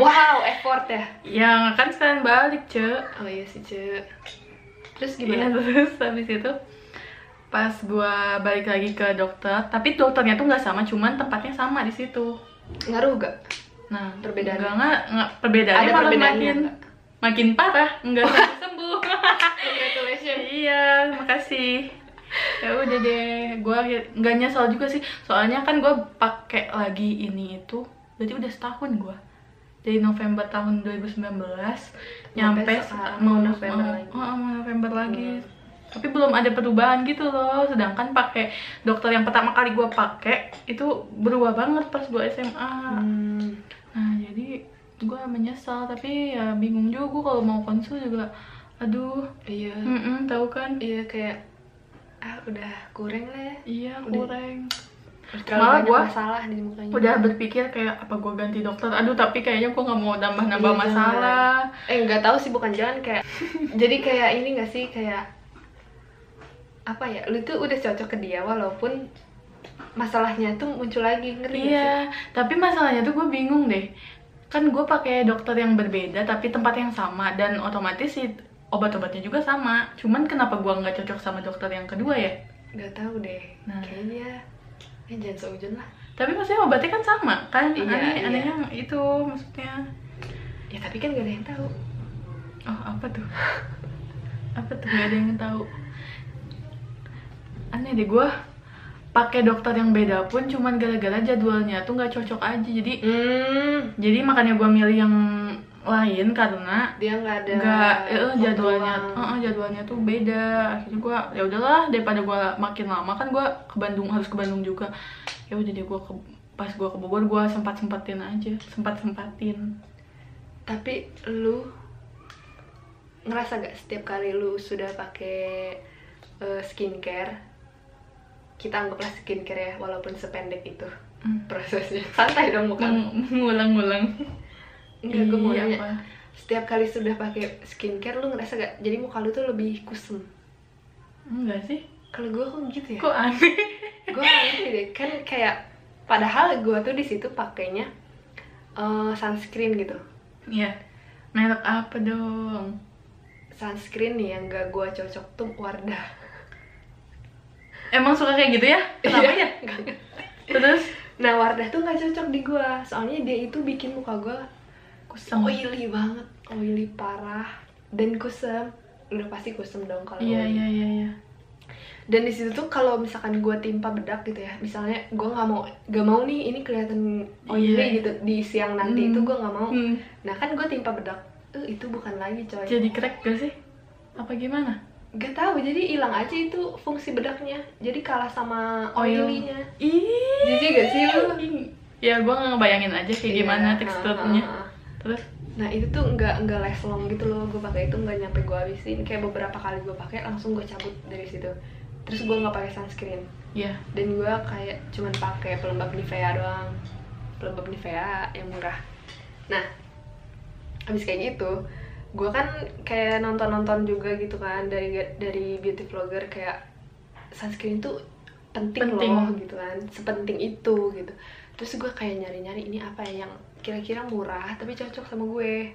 Speaker 1: wow effort ya
Speaker 2: ya kan sekalian balik cek
Speaker 1: oh iya sih Ce terus
Speaker 2: Iya,
Speaker 1: gimana
Speaker 2: terus habis itu pas gua balik lagi ke dokter, tapi dokternya tuh nggak sama, cuman tempatnya sama di situ. Iya.
Speaker 1: ngaruh gak
Speaker 2: Nah,
Speaker 1: Perbedaannya?
Speaker 2: nggak- nggak nggak- perbedaannya
Speaker 1: Ada
Speaker 2: malah
Speaker 1: perbedaannya
Speaker 2: makin
Speaker 1: nggak?
Speaker 2: makin parah, enggak sembuh. sembuh.
Speaker 1: congratulations
Speaker 2: iya, makasih. Ya udah deh, gua ya, nggak nyesal juga sih. Soalnya kan gua pakai lagi ini itu, berarti udah setahun gua. Dari November tahun 2019 nyampe
Speaker 1: Sampai
Speaker 2: se-
Speaker 1: sekarang,
Speaker 2: mau
Speaker 1: November
Speaker 2: mau-
Speaker 1: lagi. Hmm.
Speaker 2: oh, oh, mau November lagi. Tapi belum ada perubahan gitu loh. Sedangkan pakai dokter yang pertama kali gua pakai itu berubah banget pas gua SMA.
Speaker 1: hmm.
Speaker 2: Nah, jadi gue menyesal tapi ya bingung juga gue kalau mau konsul juga aduh
Speaker 1: iya
Speaker 2: mm tahu kan
Speaker 1: iya kayak ah udah kurang lah ya
Speaker 2: iya
Speaker 1: Udah.
Speaker 2: kurang
Speaker 1: Udah terlalu
Speaker 2: Malah
Speaker 1: banyak
Speaker 2: gua-
Speaker 1: masalah di mukanya
Speaker 2: udah berpikir kayak apa gue ganti dokter aduh tapi kayaknya gue nggak mau nambah nambah
Speaker 1: Iya,
Speaker 2: masalah
Speaker 1: eh nggak tahu sih bukan jalan kayak jadi kayak ini nggak sih kayak apa ya lu tuh udah cocok ke dia walaupun masalahnya tuh muncul lagi ngerti nggak sih?
Speaker 2: iya tapi masalahnya tuh gue bingung deh kan gue pakai dokter yang berbeda tapi tempat yang sama dan otomatis sih obat-obatnya juga sama cuman kenapa gue nggak cocok sama dokter yang kedua ya
Speaker 1: nggak tahu deh
Speaker 2: Nah.
Speaker 1: kayaknya eh, jangan seujun lah
Speaker 2: tapi maksudnya obatnya kan sama kan
Speaker 1: Iya,
Speaker 2: aneh
Speaker 1: iya.
Speaker 2: anehnya itu maksudnya
Speaker 1: ya tapi kan gak ada yang tahu
Speaker 2: Oh, apa tuh? apa tuh? Gak ada yang tahu. Aneh deh gue pakai dokter yang beda pun cuman gara-gara jadwalnya tuh nggak cocok aja. Jadi
Speaker 1: hmm
Speaker 2: jadi makanya gue milih yang lain karena
Speaker 1: dia nggak ada
Speaker 2: nggak eh, jadwalnya
Speaker 1: waktu luang.
Speaker 2: eh, eh, jadwalnya tuh beda akhirnya gue ya udahlah daripada gue makin lama kan gue ke Bandung harus ke Bandung juga ya udah deh gue ke pas gue ke Bogor gue sempat sempatin aja sempat sempatin
Speaker 1: tapi lu ngerasa gak setiap kali lu sudah pakai eh, skincare kita anggaplah skincare ya walaupun sependek itu
Speaker 2: Hmm.
Speaker 1: prosesnya santai dong bukan
Speaker 2: ngulang-ngulang
Speaker 1: enggak gue mau
Speaker 2: Hmm. Iya,
Speaker 1: nanya
Speaker 2: apa?
Speaker 1: setiap kali sudah pakai skincare lu ngerasa gak jadi muka lu tuh lebih kusem
Speaker 2: enggak sih
Speaker 1: kalau gue kok gitu ya
Speaker 2: Kok aneh?
Speaker 1: gue ngerti deh kan kayak padahal gue tuh di situ pakainya eh, sunscreen gitu
Speaker 2: Iya. Merek apa dong?
Speaker 1: sunscreen nih yang gak gue cocok tuh Wardah
Speaker 2: Emang suka kayak gitu ya? Kenapa
Speaker 1: Iya.
Speaker 2: ya?
Speaker 1: Nggak.
Speaker 2: Terus
Speaker 1: nah Wardah tuh gak cocok di gue soalnya dia itu bikin muka gue
Speaker 2: kusam.
Speaker 1: oily banget oily parah dan kusam udah pasti kusam dong kalau
Speaker 2: Iya
Speaker 1: oily.
Speaker 2: iya iya iya.
Speaker 1: dan di situ tuh kalau misalkan gue timpa bedak gitu ya misalnya gue nggak mau gak mau nih ini kelihatan oily
Speaker 2: Iya.
Speaker 1: gitu di siang nanti
Speaker 2: Hmm.
Speaker 1: itu gue nggak mau
Speaker 2: Hmm,
Speaker 1: nah kan gue timpa bedak eh, itu bukan lagi coy
Speaker 2: Jadi crack gak sih? Apa gimana?
Speaker 1: Gak tahu, jadi hilang aja itu fungsi bedaknya. Jadi kalah sama
Speaker 2: Oil.
Speaker 1: oily-nya.
Speaker 2: Ih.
Speaker 1: Jijik gak sih lu?
Speaker 2: Ya gua nggak ngebayangin aja kayak
Speaker 1: Iya,
Speaker 2: gimana
Speaker 1: nah,
Speaker 2: teksturnya.
Speaker 1: nah, nah.
Speaker 2: Terus
Speaker 1: Nah itu tuh nggak nggak last long gitu loh. Gue pakai itu nggak nyampe gue habisin. Kayak beberapa kali gue pakai langsung gue cabut dari situ. Terus gue nggak pakai sunscreen.
Speaker 2: ya
Speaker 1: Dan gue kayak cuman pakai pelembab Nivea doang. Pelembab Nivea yang murah. Nah, habis kayak gitu, gue kan kayak nonton-nonton juga gitu kan dari dari beauty vlogger kayak sunscreen tuh penting,
Speaker 2: Penting.
Speaker 1: loh gitu kan sepenting itu gitu terus gue kayak nyari-nyari ini apa ya yang kira-kira murah tapi cocok sama gue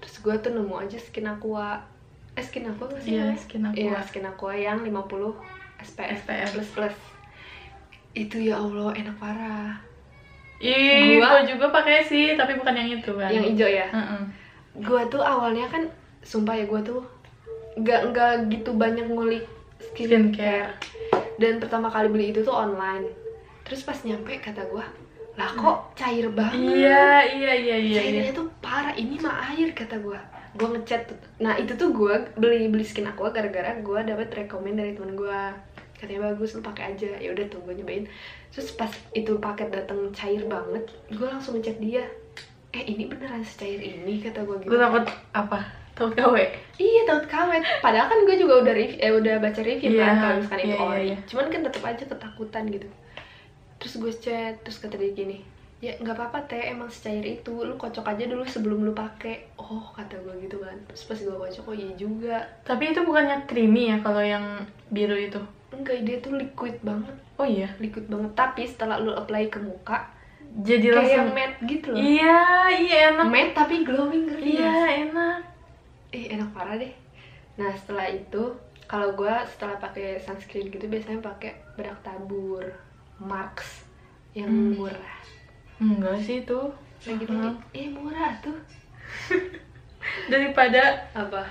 Speaker 1: terus gue tuh nemu aja skin aqua eh skin aqua nggak sih
Speaker 2: Iya,
Speaker 1: namanya?
Speaker 2: Skin Aqua.
Speaker 1: Iya, skin aqua yang 50 SPF,
Speaker 2: SPF.
Speaker 1: plus plus itu ya allah enak parah
Speaker 2: Ih,
Speaker 1: Gua-
Speaker 2: gua juga pakai sih, tapi bukan yang itu kan.
Speaker 1: yang hijau ya
Speaker 2: Heeh.
Speaker 1: gue tuh awalnya kan sumpah ya gue tuh nggak nggak gitu banyak ngulik skincare.
Speaker 2: Skincare.
Speaker 1: dan pertama kali beli itu tuh online terus pas nyampe kata gue lah kok cair banget
Speaker 2: Iya, iya, iya, iya. iya.
Speaker 1: cairnya tuh parah ini mah air kata gue gue ngechat tuh. nah itu tuh gue beli beli skin aqua gara-gara gue dapet rekomend dari temen gue katanya bagus lu pakai aja ya udah tuh gue nyobain terus pas itu paket datang cair banget gue langsung ngechat dia eh ini beneran secair ini kata gue gitu
Speaker 2: Gua takut apa? Takut gawe.
Speaker 1: Iya takut kawet. Padahal kan gue juga udah rev- eh, udah baca review
Speaker 2: Iya,
Speaker 1: kan kalau misalkan itu
Speaker 2: iya, iya,
Speaker 1: ori.
Speaker 2: iya.
Speaker 1: Cuman kan tetap aja ketakutan gitu. Terus gue chat, terus kata dia gini, ya nggak apa-apa teh emang secair itu lu kocok aja dulu sebelum lu pakai oh kata gue gitu kan terus pas gue kocok oh iya juga
Speaker 2: Tapi itu bukannya creamy ya kalau yang biru itu?
Speaker 1: enggak dia tuh liquid banget
Speaker 2: Oh iya.
Speaker 1: liquid banget tapi setelah lu apply ke muka
Speaker 2: jadi
Speaker 1: kayak
Speaker 2: langsung
Speaker 1: matte gitu loh
Speaker 2: iya iya enak
Speaker 1: matte tapi glowing ngerti
Speaker 2: iya
Speaker 1: nggak?
Speaker 2: enak
Speaker 1: ih enak parah deh nah setelah itu kalau gue setelah pakai sunscreen gitu biasanya pakai bedak tabur Marks yang
Speaker 2: Hmm.
Speaker 1: murah
Speaker 2: enggak sih itu
Speaker 1: nah gitu
Speaker 2: Hmm.
Speaker 1: eh murah tuh
Speaker 2: daripada
Speaker 1: apa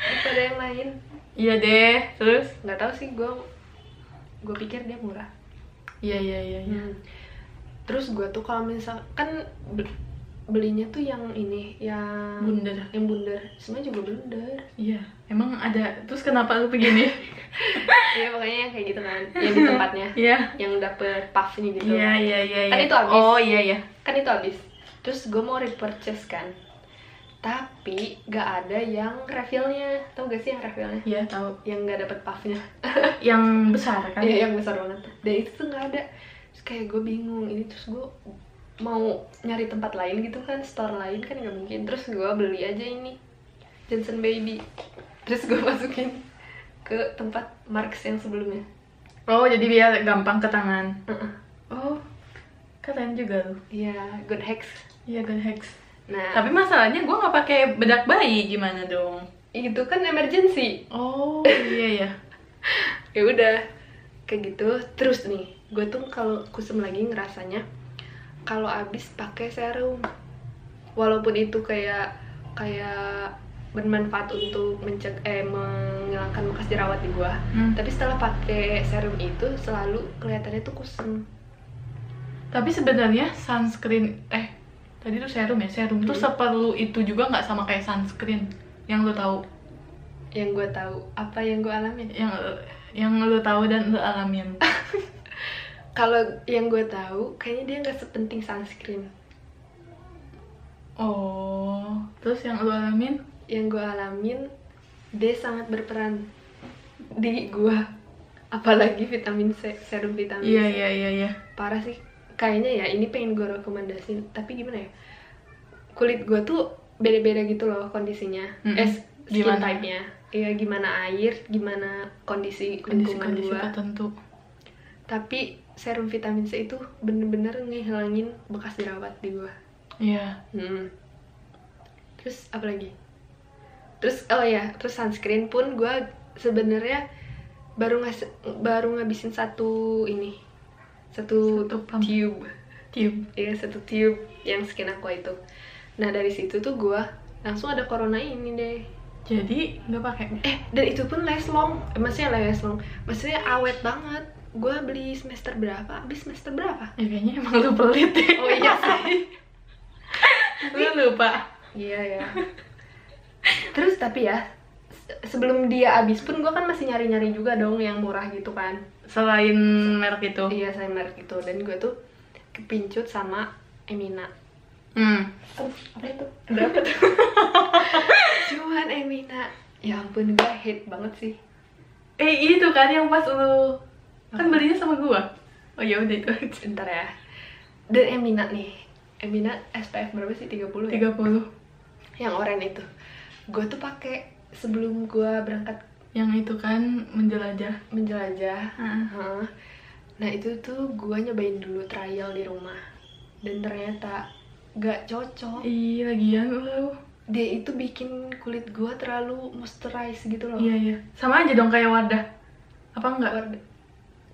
Speaker 1: ada yang lain
Speaker 2: iya deh terus
Speaker 1: nggak tahu sih gue gue pikir dia murah
Speaker 2: iya iya iya iya
Speaker 1: Hmm. terus gue tuh kalau misal kan be- belinya tuh yang ini yang
Speaker 2: Bundar.
Speaker 1: yang bundar semuanya juga bundar
Speaker 2: iya emang ada terus kenapa lu begini
Speaker 1: iya pokoknya yang kayak gitu kan yang di tempatnya
Speaker 2: iya
Speaker 1: yang dapet puffnya gitu
Speaker 2: iya iya iya
Speaker 1: Kan
Speaker 2: iya.
Speaker 1: itu habis.
Speaker 2: oh iya iya
Speaker 1: kan itu habis terus gue mau repurchase kan tapi gak ada yang refillnya tau gak sih yang refillnya
Speaker 2: iya tahu
Speaker 1: yang gak dapet puffnya
Speaker 2: yang besar kan
Speaker 1: Iya yang besar banget dan itu tuh nggak ada terus kayak gue bingung ini terus gue mau nyari tempat lain gitu kan store lain kan nggak mungkin terus gue beli aja ini Johnson Baby terus gue masukin ke tempat Marks yang sebelumnya
Speaker 2: oh jadi biar gampang ke tangan
Speaker 1: Heeh.
Speaker 2: oh keren juga lu
Speaker 1: iya good hacks
Speaker 2: iya good hacks
Speaker 1: nah
Speaker 2: tapi masalahnya gue nggak pakai bedak bayi gimana dong
Speaker 1: itu kan emergency
Speaker 2: oh iya iya
Speaker 1: ya udah kayak gitu terus nih gue tuh kalau kusem lagi ngerasanya kalau abis pakai serum walaupun itu kayak kayak bermanfaat untuk menceg eh menghilangkan bekas jerawat di gua
Speaker 2: Hmm.
Speaker 1: tapi setelah pakai serum itu selalu kelihatannya tuh kusem
Speaker 2: tapi sebenarnya sunscreen eh tadi tuh serum ya serum tuh
Speaker 1: Hmm.
Speaker 2: seperlu itu juga nggak sama kayak sunscreen yang lu tahu
Speaker 1: yang gue tahu apa yang gue alamin
Speaker 2: yang yang lu tahu dan lu alamin
Speaker 1: kalau yang gue tahu kayaknya dia nggak sepenting sunscreen
Speaker 2: oh terus yang lu alamin
Speaker 1: yang gue alamin D sangat berperan di gua apalagi vitamin C serum vitamin
Speaker 2: iya
Speaker 1: C
Speaker 2: iya iya iya
Speaker 1: parah sih kayaknya ya ini pengen gue rekomendasiin tapi gimana ya kulit gua tuh beda-beda gitu loh kondisinya
Speaker 2: Mm-mm.
Speaker 1: eh skin
Speaker 2: Gimana?
Speaker 1: type-nya iya gimana air gimana kondisi lingkungan
Speaker 2: kondisi-kondisi
Speaker 1: gua
Speaker 2: tertentu
Speaker 1: tapi serum vitamin C itu bener-bener ngehilangin bekas jerawat di gua
Speaker 2: iya
Speaker 1: Hmm. Terus apa lagi? Terus oh ya, terus sunscreen pun gue sebenarnya baru ngas baru ngabisin satu ini satu,
Speaker 2: Satu pump.
Speaker 1: tube,
Speaker 2: tiup
Speaker 1: ya satu tube yang skin aqua itu. Nah dari situ tuh gue langsung ada corona ini deh.
Speaker 2: jadi nggak pakai
Speaker 1: Eh dan itu pun last long, Eh, maksudnya last long, maksudnya awet banget. Gue beli semester berapa? Abis semester berapa?
Speaker 2: ya kayaknya emang lu pelit deh
Speaker 1: Oh iya sih.
Speaker 2: lu lupa
Speaker 1: Iya ya. Terus tapi ya se- sebelum dia habis pun gue kan masih nyari-nyari juga dong yang murah gitu kan.
Speaker 2: selain merek itu
Speaker 1: Iya saya merek itu dan gue tuh kepincut sama Emina.
Speaker 2: hmm.
Speaker 1: Aduh, apa itu? Berapa tuh? Cuman Emina. Ya ampun gue hate banget sih.
Speaker 2: eh itu kan yang pas lu kan belinya sama gua oh ya udah itu aja
Speaker 1: Bentar ya. Dan Emina nih. Emina SPF berapa sih? 30 ya?
Speaker 2: 30
Speaker 1: Yang oranye itu. Gue tuh pakai sebelum gue berangkat
Speaker 2: yang itu kan menjelajah
Speaker 1: menjelajah Hah. Nah itu tuh gue nyobain dulu trial di rumah Dan ternyata gak cocok
Speaker 2: Ih, lagian lu
Speaker 1: Dia itu bikin kulit gue terlalu moisturize gitu loh
Speaker 2: iya iya sama aja dong kayak wadah apa enggak
Speaker 1: Warna-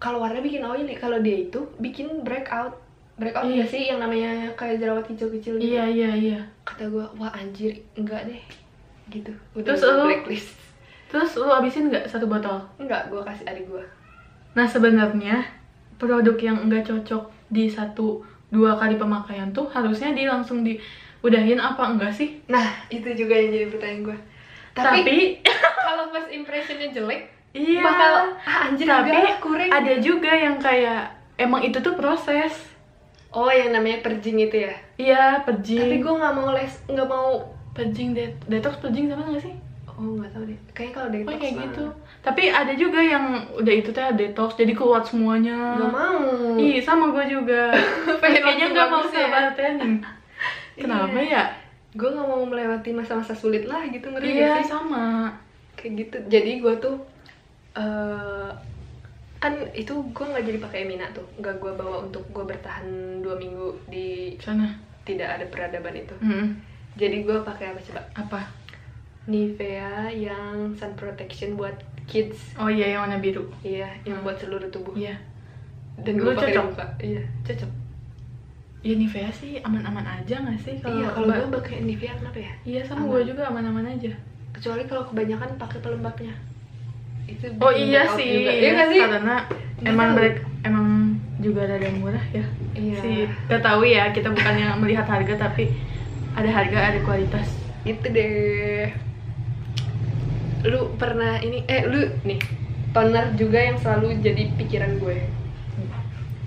Speaker 1: Kalau warna bikin oily, kalau dia itu bikin breakout Breakout
Speaker 2: Iya.
Speaker 1: iya. sih yang namanya kayak jerawat hijau kecil gitu
Speaker 2: iya iya iya
Speaker 1: Kata gue, wah anjir, enggak deh Gitu, udah
Speaker 2: Terus
Speaker 1: gua
Speaker 2: lu-
Speaker 1: blacklist
Speaker 2: terus lu abisin nggak satu botol
Speaker 1: Enggak, gue kasih adik gue
Speaker 2: nah sebenarnya produk yang enggak cocok di satu dua kali pemakaian tuh harusnya di langsung di udahin apa enggak sih
Speaker 1: Nah, itu juga yang jadi pertanyaan gue Tapi, kalau first impressionnya jelek
Speaker 2: iya
Speaker 1: bakal ah, anjir
Speaker 2: tapi
Speaker 1: enggak lah, kuring
Speaker 2: ada juga yang kayak emang itu tuh proses
Speaker 1: oh yang namanya perjing itu ya
Speaker 2: iya perjing
Speaker 1: tapi gue nggak mau les nggak mau
Speaker 2: perjing det- detox perjing sama nggak sih
Speaker 1: oh nggak tahu deh kayaknya kalau detox
Speaker 2: Pokoknya kayak
Speaker 1: mah
Speaker 2: gitu tapi ada juga yang udah itu teh detox jadi keluar semuanya
Speaker 1: nggak mau
Speaker 2: Ih, sama gue juga.
Speaker 1: Pengen
Speaker 2: Kayaknya
Speaker 1: waktu
Speaker 2: nggak mau
Speaker 1: bagus ya.
Speaker 2: sabar tanning. Kenapa ya?
Speaker 1: gue nggak mau melewati masa-masa sulit lah gitu ngeri
Speaker 2: Iya,
Speaker 1: gak sih
Speaker 2: sama.
Speaker 1: kayak gitu jadi gue tuh eh, kan kan itu gue nggak jadi pakai mina tuh nggak gue bawa untuk gue bertahan dua minggu di
Speaker 2: sana
Speaker 1: tidak ada peradaban itu
Speaker 2: Mm-mm.
Speaker 1: jadi gue pakai apa coba
Speaker 2: apa
Speaker 1: Nivea yang sun protection buat kids
Speaker 2: oh iya yang warna biru
Speaker 1: iya yang
Speaker 2: Hmm.
Speaker 1: buat seluruh tubuh
Speaker 2: iya
Speaker 1: dan gue
Speaker 2: Lu
Speaker 1: pakai di
Speaker 2: cocok?
Speaker 1: muka. iya cocok
Speaker 2: ya Nivea sih aman-aman aja nggak sih kalau
Speaker 1: iya kalau gue
Speaker 2: ba-
Speaker 1: pakai Nivea kenapa ya
Speaker 2: iya sama
Speaker 1: aman.
Speaker 2: gue juga aman-aman aja
Speaker 1: kecuali kalau kebanyakan pakai pelembabnya itu
Speaker 2: oh
Speaker 1: bikin
Speaker 2: iya
Speaker 1: breakout
Speaker 2: sih
Speaker 1: juga. iya nggak sih
Speaker 2: karena
Speaker 1: Nggak
Speaker 2: emang
Speaker 1: tahu.
Speaker 2: break- emang juga ada yang murah ya
Speaker 1: iya
Speaker 2: sih nggak tahu ya kita bukan yang melihat harga tapi ada harga ada kualitas
Speaker 1: itu deh lu pernah ini eh lu nih toner juga yang selalu jadi pikiran gue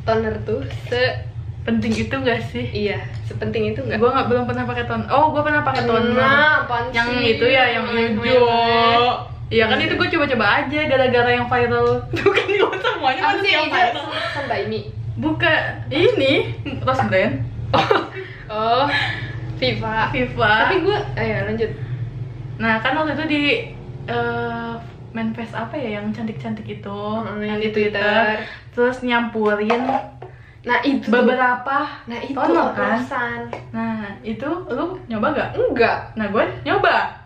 Speaker 1: toner tuh se
Speaker 2: penting itu nggak sih
Speaker 1: iya sepenting itu nggak
Speaker 2: gue nggak belum pernah pakai ton oh gue pernah pakai toner
Speaker 1: Nah, apaan
Speaker 2: yang
Speaker 1: sih? Iya.
Speaker 2: itu ya yang
Speaker 1: Merah-merah.
Speaker 2: hijau Iya kan itu gue coba-coba aja gara-gara yang viral bukan gue semuanya
Speaker 1: apa
Speaker 2: pasti
Speaker 1: sih
Speaker 2: yang
Speaker 1: yang
Speaker 2: viral
Speaker 1: sampai ini
Speaker 2: bukan ini Rose Brand
Speaker 1: oh Viva
Speaker 2: Viva
Speaker 1: tapi gue ayo lanjut
Speaker 2: nah kan waktu itu di eh, manifest apa ya yang cantik-cantik itu
Speaker 1: Mm, yang
Speaker 2: yang
Speaker 1: di
Speaker 2: di Twitter.
Speaker 1: Twitter.
Speaker 2: terus nyampurin
Speaker 1: nah itu
Speaker 2: beberapa
Speaker 1: nah itu
Speaker 2: Toner, kan?
Speaker 1: alasan
Speaker 2: nah itu lu nyoba gak?
Speaker 1: enggak
Speaker 2: nah gue nyoba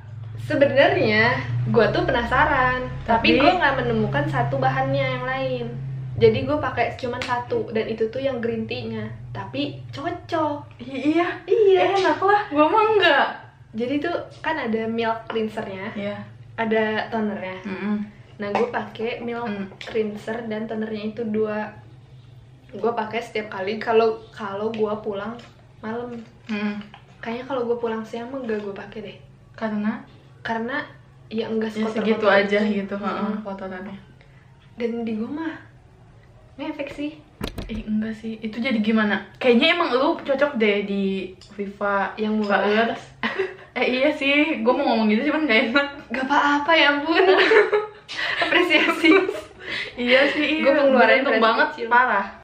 Speaker 1: Sebenarnya gue tuh penasaran, tapi,
Speaker 2: Tapi-
Speaker 1: gue nggak menemukan satu bahannya yang lain. Jadi gue pakai cuman satu dan itu tuh yang green tea-nya. Tapi cocok.
Speaker 2: I- iya
Speaker 1: Iya.
Speaker 2: enak lah gue mah enggak
Speaker 1: Jadi tuh kan ada milk cleansernya,
Speaker 2: iya
Speaker 1: ada tonernya.
Speaker 2: Mm-mm.
Speaker 1: Nah gue pakai milk
Speaker 2: Hmm.
Speaker 1: cleanser dan tonernya itu dua. Gue pakai setiap kali kalau kalau gue pulang malam.
Speaker 2: Mm.
Speaker 1: Kayaknya kalau gue pulang siang mah gak gue pakai deh.
Speaker 2: karena
Speaker 1: Karena ya enggak
Speaker 2: ya
Speaker 1: sekotor-kotor
Speaker 2: segitu aja gitu
Speaker 1: Mm.
Speaker 2: heeh kotorannya
Speaker 1: dan di gue mah ngefek sih
Speaker 2: eh enggak sih itu jadi gimana kayaknya emang lu cocok deh di Viva
Speaker 1: Yang
Speaker 2: Viva
Speaker 1: murah.
Speaker 2: Earth. eh iya sih gue mau ngomong gitu cuman gak enak
Speaker 1: gak apa-apa ya ampun apresiasi
Speaker 2: iya sih
Speaker 1: Gua pengeluaran
Speaker 2: Iya
Speaker 1: berarti
Speaker 2: beruntung banget
Speaker 1: kecil.
Speaker 2: parah